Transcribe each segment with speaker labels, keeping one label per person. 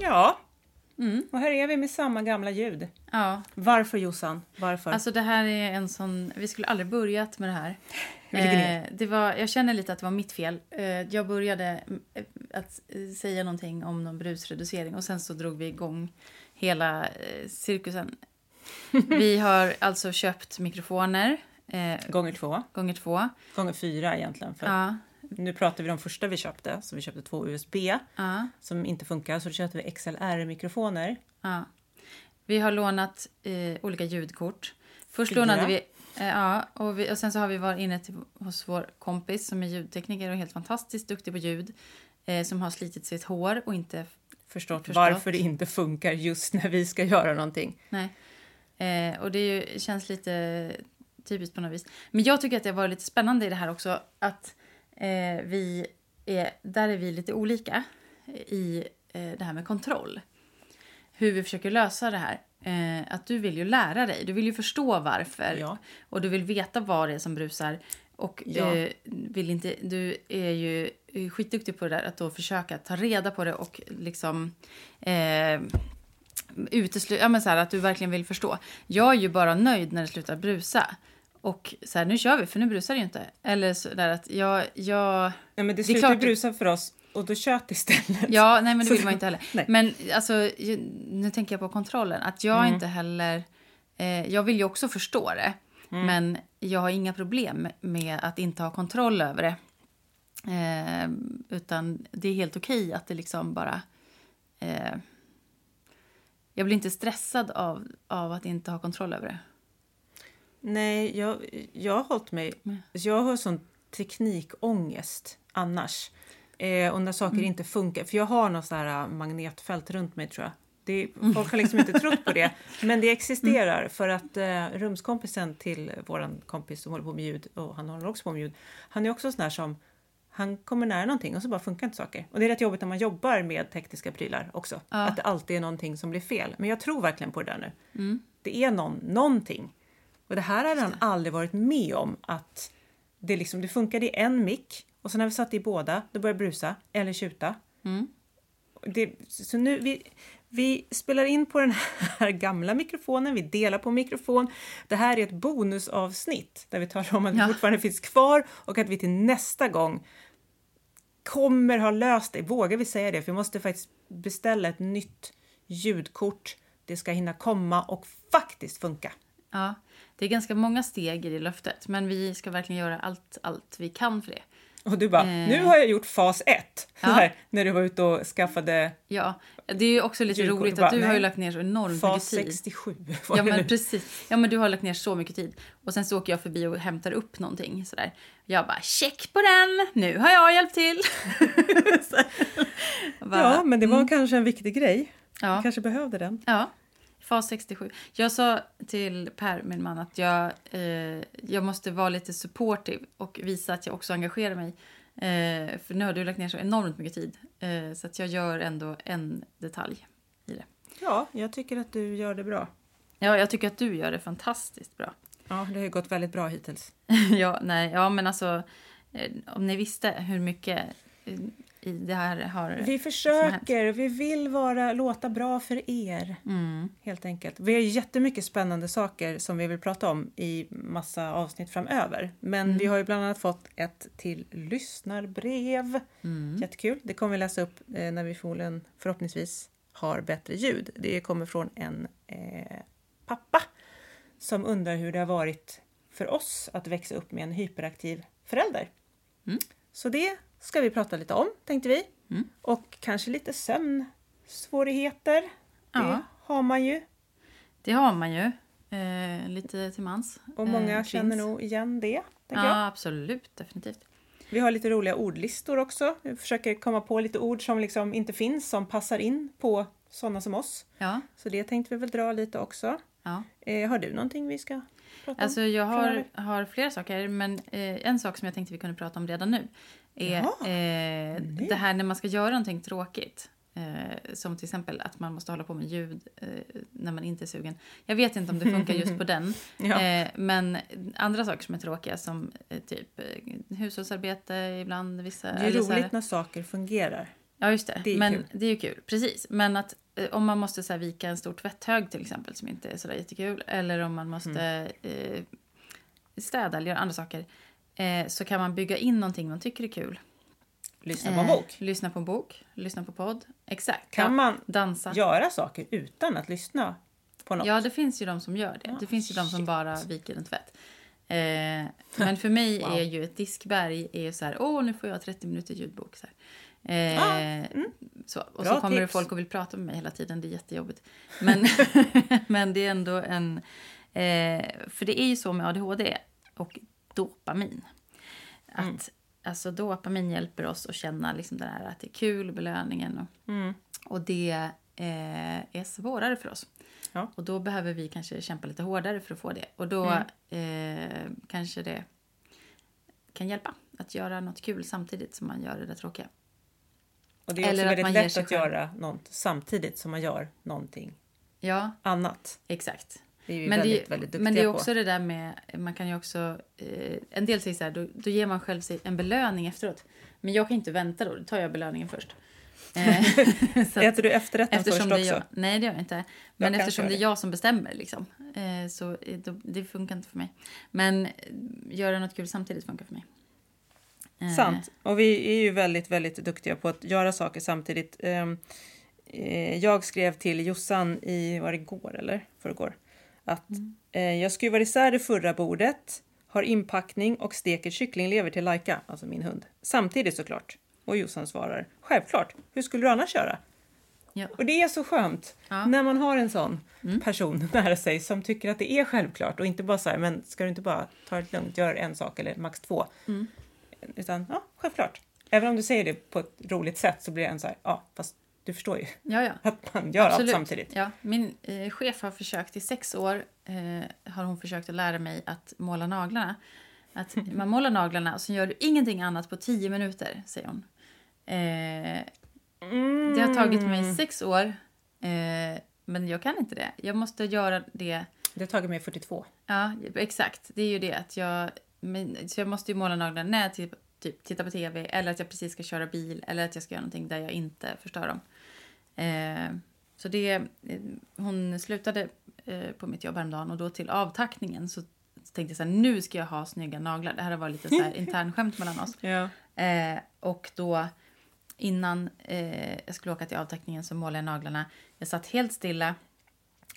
Speaker 1: Ja,
Speaker 2: Mm.
Speaker 1: och här är vi med samma gamla ljud.
Speaker 2: Ja,
Speaker 1: Varför Jossan? Varför?
Speaker 2: alltså det här är en sån... Vi skulle aldrig börjat med det här.
Speaker 1: Hur ligger ni?
Speaker 2: Eh, det var, jag känner lite att det var mitt fel. Eh, jag började mm, eh, att eh, säga någonting om någon brusreducering och sen så drog vi igång hela eh, cirkusen. Vi har alltså köpt mikrofoner, eh,
Speaker 1: Gånger två,
Speaker 2: gånger två.
Speaker 1: gånger fyra egentligen. För
Speaker 2: Ja,
Speaker 1: Nu pratar vi om de första vi köpte, så vi köpte två USB
Speaker 2: ja,
Speaker 1: som inte funkar, så då köpte vi XLR-mikrofoner.
Speaker 2: ja. Vi har lånat eh, olika ljudkort. Först
Speaker 1: Fyra.
Speaker 2: lånade vi... eh, Ja, och, vi, och sen så har vi varit inne till, hos vår kompis som är ljudtekniker och helt fantastiskt duktig på ljud. Eh, som har slitit sitt hår och inte
Speaker 1: Förstått,
Speaker 2: Förstått.
Speaker 1: varför det inte funkar just när vi ska göra någonting.
Speaker 2: Nej. Eh, och det är ju, känns lite typiskt på något vis. Men jag tycker att det var lite spännande i det här också att eh, vi är, där är vi lite olika i eh, det här med kontroll. Hur vi försöker lösa det här. Eh, att du vill ju lära dig, du vill ju förstå varför.
Speaker 1: Ja.
Speaker 2: Och du vill veta vad det är som brusar. Och
Speaker 1: Ja.
Speaker 2: eh, vill inte, du är ju eh, skitduktig på det där att då försöka ta reda på det och liksom eh, utesluta, ja men så här att du verkligen vill förstå. Jag är ju bara nöjd när det slutar brusa. Och så här, nu kör vi för nu brusar det ju inte. Eller så där att jag, jag,
Speaker 1: Ja, men det
Speaker 2: Det är
Speaker 1: slutar
Speaker 2: klart-
Speaker 1: brusa för oss och då tjöt istället.
Speaker 2: ja nej men det
Speaker 1: Så-
Speaker 2: vill man ju inte heller.
Speaker 1: Nej.
Speaker 2: Men alltså, ju- nu tänker jag på kontrollen. Att jag
Speaker 1: Mm.
Speaker 2: inte heller... Eh, jag vill ju också förstå det.
Speaker 1: Mm.
Speaker 2: Men jag har inga problem med att inte ha kontroll över det. Eh, utan det är helt okej att det liksom bara... Eh, jag blir inte stressad av, av att inte ha kontroll över det.
Speaker 1: Nej, jag, jag har hållit mig... Jag har sån teknikångest annars. Eh, och när saker inte funkar. För jag har något så här äh, magnetfält runt mig tror jag. Det, folk har liksom inte trott på det. Men det existerar för att eh, rumskompisen till våran kompis som håller på med ljud och han håller också på med ljud. Han är också sån här som han kommer nära någonting och så bara funkar inte saker. Och det är rätt jobbigt när man jobbar med tekniska prylar också. Att det alltid är någonting som blir fel. Men jag tror verkligen på det där nu. Det är någon, någonting. Och det här hade han aldrig varit med om att det, liksom, det funkade i en mick och sen när vi satt i båda då började det brusa eller tjuta. Det, så nu, vi, vi spelar in på den här gamla mikrofonen, vi delar på mikrofon. Det här är ett bonusavsnitt där vi talar om att
Speaker 2: Ja.
Speaker 1: vi fortfarande finns kvar och att vi till nästa gång kommer ha löst det. Vågar vi säga det? För vi måste faktiskt beställa ett nytt ljudkort. Det ska hinna komma och faktiskt funka.
Speaker 2: Ja, det är ganska många steg i det löftet. Men vi ska verkligen göra allt, allt vi kan för det.
Speaker 1: Och du bara,
Speaker 2: Eh.
Speaker 1: nu har jag gjort fas ett.
Speaker 2: Ja.
Speaker 1: Där, när du var ute och skaffade
Speaker 2: Ja, det är ju också lite
Speaker 1: Julkort
Speaker 2: roligt
Speaker 1: och
Speaker 2: att
Speaker 1: bara,
Speaker 2: du har ju
Speaker 1: nej.
Speaker 2: lagt ner så enormt mycket
Speaker 1: fas
Speaker 2: tid.
Speaker 1: 67.
Speaker 2: Ja
Speaker 1: Var det
Speaker 2: men
Speaker 1: nu.
Speaker 2: precis. Ja men du har lagt ner så mycket tid. Och sen så åker jag förbi och hämtar upp någonting sådär. Jag bara check på den, nu har jag hjälpt till. Så här. Bara,
Speaker 1: ja, men det var kanske en viktig grej.
Speaker 2: ja,
Speaker 1: Kanske behövde den.
Speaker 2: ja. Fas 67. Jag sa till Per, min man, att jag, eh, jag måste vara lite supportive och visa att jag också engagerar mig. Eh, för nu har du lagt ner så enormt mycket tid. Eh, så att jag gör ändå en detalj i det.
Speaker 1: Ja, jag tycker att du gör det bra.
Speaker 2: Ja, jag tycker att du gör det fantastiskt bra.
Speaker 1: Ja, det har ju gått väldigt bra hittills.
Speaker 2: ja, nej, ja, men alltså eh, om ni visste hur mycket eh, i det här har...
Speaker 1: Vi försöker, vi vill vara, låta bra för er.
Speaker 2: Mm,
Speaker 1: Helt enkelt. Vi har jättemycket spännande saker som vi vill prata om i massa avsnitt framöver. Men vi har ju bland annat fått ett till lyssnarbrev.
Speaker 2: Mm.
Speaker 1: Jättekul. Det kommer vi läsa upp eh, när vi förmodligen, förhoppningsvis har bättre ljud. Det kommer från en eh, pappa som undrar hur det har varit för oss att växa upp med en hyperaktiv förälder. Så det ska vi prata lite om tänkte vi. Och kanske lite sömnsvårigheter. Det
Speaker 2: Ja.
Speaker 1: har man ju.
Speaker 2: Det har man ju eh, lite till mans.
Speaker 1: Och många
Speaker 2: eh,
Speaker 1: känner
Speaker 2: finns.
Speaker 1: nog igen det. Tänker jag.
Speaker 2: Ja, absolut. Definitivt.
Speaker 1: Vi har lite roliga ordlistor också. Vi försöker komma på lite ord som liksom inte finns, som passar in på sådana som oss.
Speaker 2: Ja,
Speaker 1: Så det tänkte vi väl dra lite också.
Speaker 2: ja.
Speaker 1: Eh, har du någonting vi ska prata om?
Speaker 2: Alltså jag har,
Speaker 1: Framöver.
Speaker 2: har flera saker, men eh, en sak som jag tänkte vi kunde prata om redan nu är
Speaker 1: Jaha.
Speaker 2: eh, det här när man ska göra någonting tråkigt. Eh, som till exempel att man måste hålla på med ljud eh, när man inte är sugen. Jag vet inte om det funkar just på den.
Speaker 1: Ja.
Speaker 2: Eh, men andra saker som är tråkiga som eh, typ eh, hushållsarbete ibland. Vissa,
Speaker 1: Det är
Speaker 2: eller så här-
Speaker 1: roligt när saker fungerar.
Speaker 2: Ja, just det.
Speaker 1: Det är
Speaker 2: men
Speaker 1: kul.
Speaker 2: det är ju kul. Precis. Men att eh, om man måste så här, vika en stor tvätthög till exempel som inte är sådär jättekul. Eller om man måste
Speaker 1: Mm.
Speaker 2: eh, städa eller göra andra saker. Eh, så kan man bygga in någonting man tycker är kul.
Speaker 1: Lyssna på en
Speaker 2: Eh,
Speaker 1: bok.
Speaker 2: Lyssna på en bok. Lyssna på podd. Exakt.
Speaker 1: Kan man
Speaker 2: Dansa.
Speaker 1: göra saker utan att lyssna på något?
Speaker 2: Ja, det finns ju de som gör det.
Speaker 1: Ah,
Speaker 2: det finns ju de som
Speaker 1: shit.
Speaker 2: bara viker en tvätt. Eh, men för mig
Speaker 1: Wow.
Speaker 2: är ju ett diskberg är ju så här, åh nu får jag 30 minuter ljudbok. Så här. Eh,
Speaker 1: Ah,
Speaker 2: så, och
Speaker 1: Bra
Speaker 2: så kommer det
Speaker 1: tips.
Speaker 2: folk och vill prata med mig hela tiden, det är jättejobbigt. Men, men det är ändå en... Eh, för det är ju så med ADHD och dopamin. Att,
Speaker 1: Mm.
Speaker 2: alltså, dopamin hjälper oss att känna liksom det här, att det är kul, belöningen och
Speaker 1: Mm.
Speaker 2: och det eh, är svårare för oss.
Speaker 1: Ja.
Speaker 2: Och då behöver vi kanske kämpa lite hårdare för att få det. Och då
Speaker 1: Mm.
Speaker 2: eh, kanske det kan hjälpa att göra något kul samtidigt som man gör det där tråkiga.
Speaker 1: Och det är
Speaker 2: Eller
Speaker 1: också
Speaker 2: att
Speaker 1: väldigt
Speaker 2: man ger
Speaker 1: lätt
Speaker 2: sig
Speaker 1: att
Speaker 2: själv-
Speaker 1: göra något samtidigt som man gör någonting
Speaker 2: Ja,
Speaker 1: annat.
Speaker 2: exakt.
Speaker 1: Det är vi
Speaker 2: Men det, är-
Speaker 1: väldigt, väldigt duktiga
Speaker 2: men det är
Speaker 1: på.
Speaker 2: också det där med, man kan ju också, eh, en del säger så här, då, då ger man själv sig en belöning efteråt. Men jag kan inte vänta då, då tar jag belöningen först. Eh, så att-
Speaker 1: Äter du efterrätten först
Speaker 2: Eftersom
Speaker 1: också?
Speaker 2: det är jag, nej, det gör jag inte. Men
Speaker 1: kan
Speaker 2: eftersom
Speaker 1: köra
Speaker 2: det är
Speaker 1: det.
Speaker 2: jag som bestämmer, liksom, eh, så eh, då, det funkar inte för mig. Men eh, göra något kul samtidigt funkar för mig. Eh,
Speaker 1: Sant. Och vi är ju väldigt, väldigt duktiga på att göra saker samtidigt. Ehm, eh, Jag skrev till Jossan i, var det igår eller förrgår? Att
Speaker 2: Mm.
Speaker 1: eh, jag skruvar isär det förra bordet, har inpackning och steker kycklinglever till Laika, alltså min hund. Samtidigt såklart. Och Jossan svarar, självklart, hur skulle du annars göra?
Speaker 2: Ja.
Speaker 1: Och det är så skönt
Speaker 2: Ja. Mm.
Speaker 1: när man har en sån person nära sig som tycker att det är självklart och inte bara så här, men ska du inte bara ta det lugnt, gör en sak eller max två. Utan ja, självklart. Även om du säger det på ett roligt sätt så blir det en så här, ja fast du förstår ju
Speaker 2: Ja, ja.
Speaker 1: att man gör
Speaker 2: Absolut.
Speaker 1: allt samtidigt.
Speaker 2: Ja, min eh, chef har försökt i sex år eh, har hon försökt att lära mig att måla naglarna. Att man målar naglarna och så gör du ingenting annat på tio minuter, säger hon. Eh, Det har tagit
Speaker 1: Mm.
Speaker 2: mig sex år, eh, men jag kan inte det. Jag måste göra det
Speaker 1: Det har tagit mig 42.
Speaker 2: Ja, exakt. Det är ju det att jag... Men, så jag måste ju måla naglarna när jag typ, typ tittar på tv eller att jag precis ska köra bil eller att jag ska göra någonting där jag inte förstör dem. Eh, så det... eh, Hon slutade eh, på mitt jobb häromdagen och då till avtackningen så tänkte jag så här, nu ska jag ha snygga naglar. Det här var lite så här internskämt mellan oss.
Speaker 1: Ja.
Speaker 2: Eh, och då innan eh, jag skulle åka till avtackningen så målade jag naglarna. Jag satt helt stilla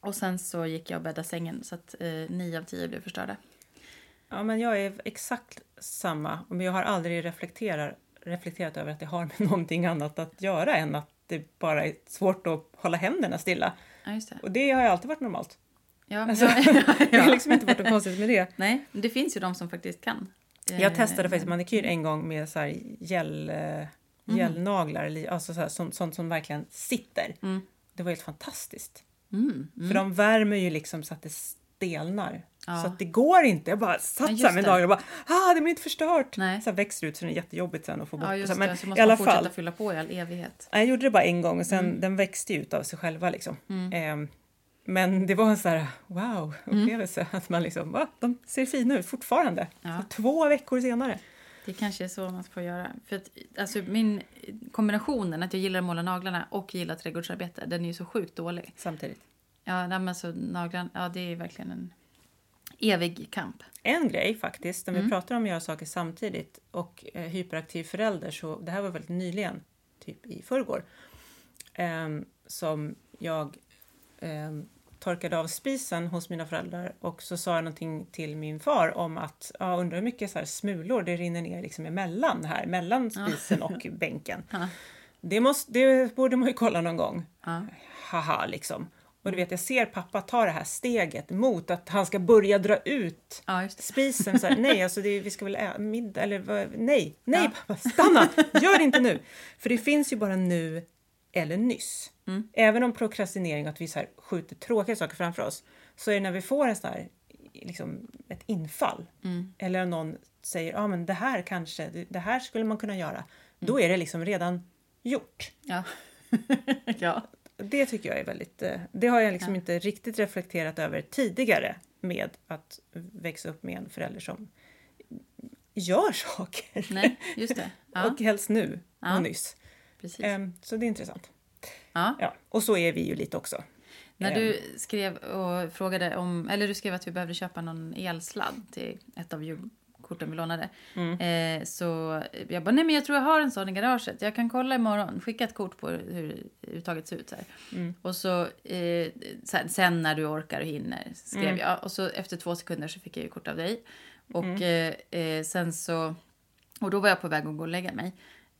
Speaker 2: och sen så gick jag och bäddade sängen så att eh, nio av tio blev förstörda.
Speaker 1: ja men jag är exakt samma men jag har aldrig reflekterat, reflekterat över att det har med någonting annat att göra än att det bara är svårt att hålla händerna stilla.
Speaker 2: Ja, just det.
Speaker 1: Och det har ju alltid varit normalt.
Speaker 2: Ja, men
Speaker 1: Alltså,
Speaker 2: jag,
Speaker 1: Det har liksom inte varit något konstigt med det.
Speaker 2: Nej, men det finns ju de som faktiskt kan. Eh, Mhm.
Speaker 1: Jag testade faktiskt manikyr en gång med så här gel, eh, gelnaglar, eller alltså så här, sånt, sånt som verkligen sitter. Det var helt fantastiskt.
Speaker 2: Mm.
Speaker 1: För de värmer ju liksom så att det stelnar.
Speaker 2: Ja.
Speaker 1: Så att det går inte. Jag bara
Speaker 2: Ja,
Speaker 1: satt
Speaker 2: just
Speaker 1: så här med
Speaker 2: det.
Speaker 1: naglarna och bara ah, det blir inte förstört.
Speaker 2: Nej.
Speaker 1: Så här växer ut så det är jättejobbigt sen att få bort.
Speaker 2: Ja,
Speaker 1: och
Speaker 2: just
Speaker 1: så här, men
Speaker 2: det. Så måste
Speaker 1: i alla
Speaker 2: man fortsätta Mm.
Speaker 1: fall,
Speaker 2: fylla på i all evighet.
Speaker 1: jag gjorde det bara en gång och sen den växte ju ut av sig själva liksom.
Speaker 2: Mm.
Speaker 1: Ehm, men det var en så här wow upplevelse att man liksom, va? De ser fina ut fortfarande.
Speaker 2: Ja.
Speaker 1: Så två veckor senare.
Speaker 2: Det kanske är så man får göra. För att, alltså, min kombinationen att jag gillar att måla naglarna och gillar trädgårdsarbete, den är ju så sjukt dålig.
Speaker 1: Samtidigt.
Speaker 2: Ja, nej, men så naglarna, ja det är verkligen en evig kamp.
Speaker 1: En grej faktiskt, när
Speaker 2: Mm.
Speaker 1: vi pratar om att göra saker samtidigt och eh, hyperaktiv förälder, så det här var väldigt nyligen, typ i förrgår, ehm, som jag ehm, torkade av spisen hos mina föräldrar och så sa jag någonting till min far om att ja, undrar hur mycket så här smulor det rinner ner liksom emellan här, mellan spisen och bänken.
Speaker 2: Ja.
Speaker 1: Det, måste, det borde man ju kolla någon gång.
Speaker 2: Ja. Mm.
Speaker 1: Haha, liksom. Och du vet, jag ser pappa ta det här steget mot att han ska börja dra ut
Speaker 2: Ja, just det.
Speaker 1: spisen så här, nej alltså det, vi ska väl äta middag eller vad- nej, nej
Speaker 2: Ja.
Speaker 1: pappa, stanna, gör det inte nu. För det finns ju bara nu eller nyss. Även om prokrastinering, att vi så här skjuter tråkiga saker framför oss, så är det när vi får en sån här, liksom ett infall, eller någon säger, ja ah, men det här kanske, det- det här skulle man kunna göra, då är det liksom redan gjort.
Speaker 2: Ja. ja.
Speaker 1: Det tycker jag är väldigt... eh, Det har jag liksom inte riktigt reflekterat över tidigare med att växa upp med en förälder som gör saker.
Speaker 2: Nej, just det. Ja.
Speaker 1: Och helst nu
Speaker 2: Ja.
Speaker 1: och nyss.
Speaker 2: Precis.
Speaker 1: Ehm, Så det är intressant.
Speaker 2: Ja.
Speaker 1: Ja, och så är vi ju lite också. Ehm,
Speaker 2: När du skrev och frågade om, eller du skrev att vi behövde köpa någon elsladd till ett av julkorten vi lånade. Eh, så jag bara, nej men jag tror jag har en sån i garaget. Jag kan kolla imorgon, skicka ett kort på hur uttaget ser ut. Så här. Och så, eh, sen, sen när du orkar och hinner, skrev jag. Och så efter två sekunder så fick jag ju kort av dig. Och eh, eh, sen så, och då var jag på väg att gå och lägga mig.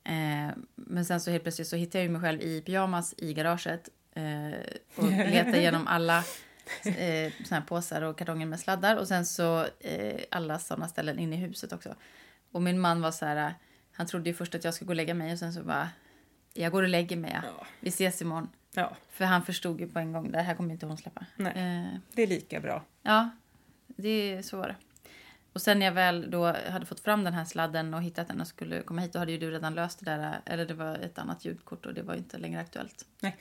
Speaker 2: Eh, men sen så helt plötsligt så hittade jag ju mig själv i pyjamas i garaget eh, och letade igenom alla eh, såna här påsar och kartonger med sladdar och sen så eh, alla såna ställen inne i huset också. Och min man var så här, han trodde ju först att jag skulle gå och lägga mig och sen så bara, jag går och lägger mig, ja.
Speaker 1: Ja.
Speaker 2: vi ses imorgon.
Speaker 1: Ja,
Speaker 2: För han förstod ju på en gång, det här kommer inte hon släppa.
Speaker 1: Nej.
Speaker 2: Eh,
Speaker 1: det är lika bra.
Speaker 2: Ja, det, så var det. Och sen när jag väl då hade fått fram den här sladden och hittat den och skulle komma hit, då hade ju du redan löst det där, eller det var ett annat ljudkort och det var ju inte längre aktuellt.
Speaker 1: Nej.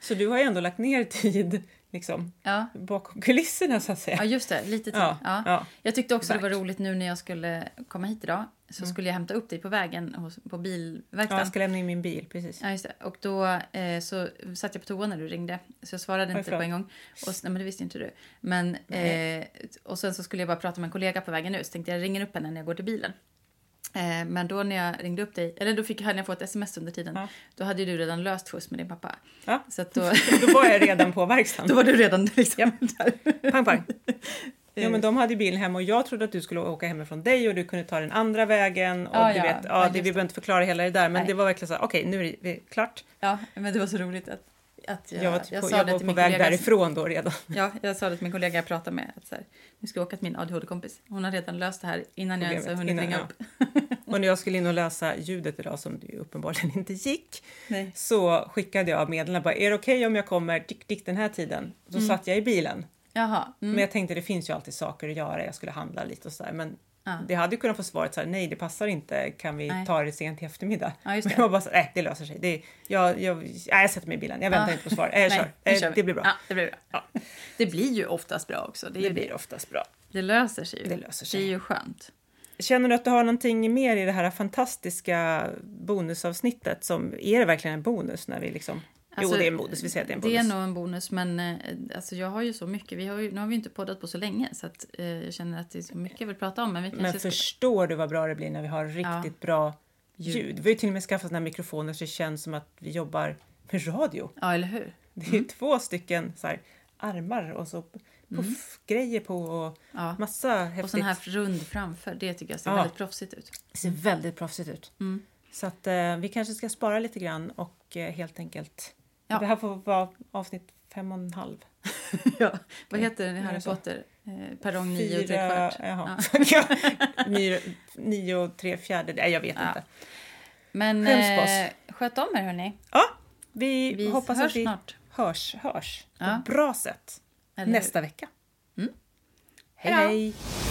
Speaker 1: så du har ju ändå lagt ner tid liksom,
Speaker 2: Ja,
Speaker 1: bakom kulisserna så att säga.
Speaker 2: ja just det, lite till.
Speaker 1: Ja,
Speaker 2: Ja.
Speaker 1: ja.
Speaker 2: Jag tyckte också det var
Speaker 1: Back.
Speaker 2: roligt nu när jag skulle komma hit idag, så skulle jag hämta upp dig på vägen hos, på
Speaker 1: Ja,
Speaker 2: bilverkstaden.
Speaker 1: jag ska lämna in min bil, precis.
Speaker 2: Ja, just det. Och då eh, så satt jag på toa när du ringde, så jag svarade
Speaker 1: Oj,
Speaker 2: inte på
Speaker 1: förlåt.
Speaker 2: en gång. Och, s- nej, men det visste inte du. Men, eh, och sen så skulle jag bara prata med en kollega på vägen ut, så tänkte jag ringer upp henne när jag går till bilen. Eh, men då när jag ringde upp dig, eller då fick, hade jag fått ett sms under tiden,
Speaker 1: Ja.
Speaker 2: då hade ju du redan löst skjuts med din pappa.
Speaker 1: Ja.
Speaker 2: Så att då,
Speaker 1: Då var jag redan på
Speaker 2: då
Speaker 1: verkstaden.
Speaker 2: var du redan liksom där.
Speaker 1: Pang, pang. Ja, men de hade ju bilen hemma och jag trodde att du skulle åka hemifrån dig och du kunde ta den andra vägen. Och
Speaker 2: Ja,
Speaker 1: du
Speaker 2: ja.
Speaker 1: vet,
Speaker 2: Ja,
Speaker 1: ja,
Speaker 2: just
Speaker 1: det, vi
Speaker 2: det.
Speaker 1: behöver inte förklara hela det där, men
Speaker 2: Nej.
Speaker 1: det var verkligen så här, okej, nu är det klart.
Speaker 2: Ja, men det var så roligt att, att jag,
Speaker 1: Jag var, typ på,
Speaker 2: sa
Speaker 1: jag
Speaker 2: det
Speaker 1: var på
Speaker 2: till min
Speaker 1: väg
Speaker 2: kollega.
Speaker 1: därifrån då redan.
Speaker 2: Ja, jag sa det till min kollega jag pratade med. Att så här, nu ska jag åka till min ADHD-kompis. Hon har redan löst det här innan jag ens har
Speaker 1: Problemet,
Speaker 2: hunnit
Speaker 1: innan,
Speaker 2: ringa
Speaker 1: ja.
Speaker 2: upp.
Speaker 1: Och när jag skulle in och lösa ljudet idag, som det ju uppenbarligen inte gick,
Speaker 2: Nej.
Speaker 1: så skickade jag meddelandet bara, är det okej om jag kommer dick, dick den här tiden? Då
Speaker 2: Mm.
Speaker 1: satt jag i bilen.
Speaker 2: Jaha. Mm.
Speaker 1: Men jag tänkte det finns ju alltid saker att göra, jag skulle handla lite och sådär. Men
Speaker 2: Ja.
Speaker 1: det hade ju kunnat få svaret så här, nej det passar inte, kan vi
Speaker 2: Nej.
Speaker 1: ta det sent i eftermiddag?
Speaker 2: Ja, just
Speaker 1: Men
Speaker 2: det.
Speaker 1: jag bara så, nej det löser sig. Det, jag, jag, nej, jag sätter mig i bilen, jag väntar
Speaker 2: Ja.
Speaker 1: inte på svar. Nej, jag kör.
Speaker 2: nu
Speaker 1: Eh,
Speaker 2: kör vi.
Speaker 1: det blir bra.
Speaker 2: Ja, det blir bra.
Speaker 1: Ja.
Speaker 2: Det blir ju oftast bra också. Det, är ju
Speaker 1: Det
Speaker 2: det,
Speaker 1: blir oftast bra.
Speaker 2: det löser sig ju.
Speaker 1: Det löser sig.
Speaker 2: Det är ju skönt.
Speaker 1: Känner du att du har någonting mer i det här fantastiska bonusavsnittet? Som, är det verkligen en bonus? när vi liksom...
Speaker 2: Alltså,
Speaker 1: jo, det är en bonus. Vi säger att det är en
Speaker 2: Det
Speaker 1: bonus.
Speaker 2: är nog en bonus, men eh, alltså, jag har ju så mycket. Vi har ju, nu har vi inte poddat på så länge, så att, eh, jag känner att det är så mycket jag vill prata om. Men vi kanske
Speaker 1: Men
Speaker 2: ska-
Speaker 1: förstår du vad bra det blir när vi har riktigt bra ljud? Vi har ju till och med skaffat såna här mikrofoner så det känns som att vi jobbar med radio.
Speaker 2: Ja, eller hur?
Speaker 1: Det är ju två stycken så här, armar och så puff, grejer på och
Speaker 2: Mm. Ja.
Speaker 1: massa häftigt.
Speaker 2: Och sån här rund framför, det tycker jag ser
Speaker 1: Ja.
Speaker 2: väldigt proffsigt ut.
Speaker 1: Det ser väldigt proffsigt ut. Så att eh, vi kanske ska spara lite grann och eh, helt enkelt...
Speaker 2: Ja.
Speaker 1: Det här får vara avsnitt fem och en halv.
Speaker 2: ja. Vad heter den i
Speaker 1: är
Speaker 2: Harry
Speaker 1: det så?
Speaker 2: Potter? Eh, Perrong 9 och tre
Speaker 1: Fyra-
Speaker 2: kvart.
Speaker 1: Jaha. Nio, nio och tre fjärde, nej jag vet
Speaker 2: Ja.
Speaker 1: inte.
Speaker 2: Men
Speaker 1: Skäms på oss.
Speaker 2: eh, sköt om er hörni.
Speaker 1: Ja, vi,
Speaker 2: Vi
Speaker 1: hoppas
Speaker 2: hörs
Speaker 1: att vi
Speaker 2: snart.
Speaker 1: hörs, hörs på
Speaker 2: Ja.
Speaker 1: bra sätt
Speaker 2: Eller hur? Mm.
Speaker 1: nästa vecka.
Speaker 2: Hej då.
Speaker 1: hej.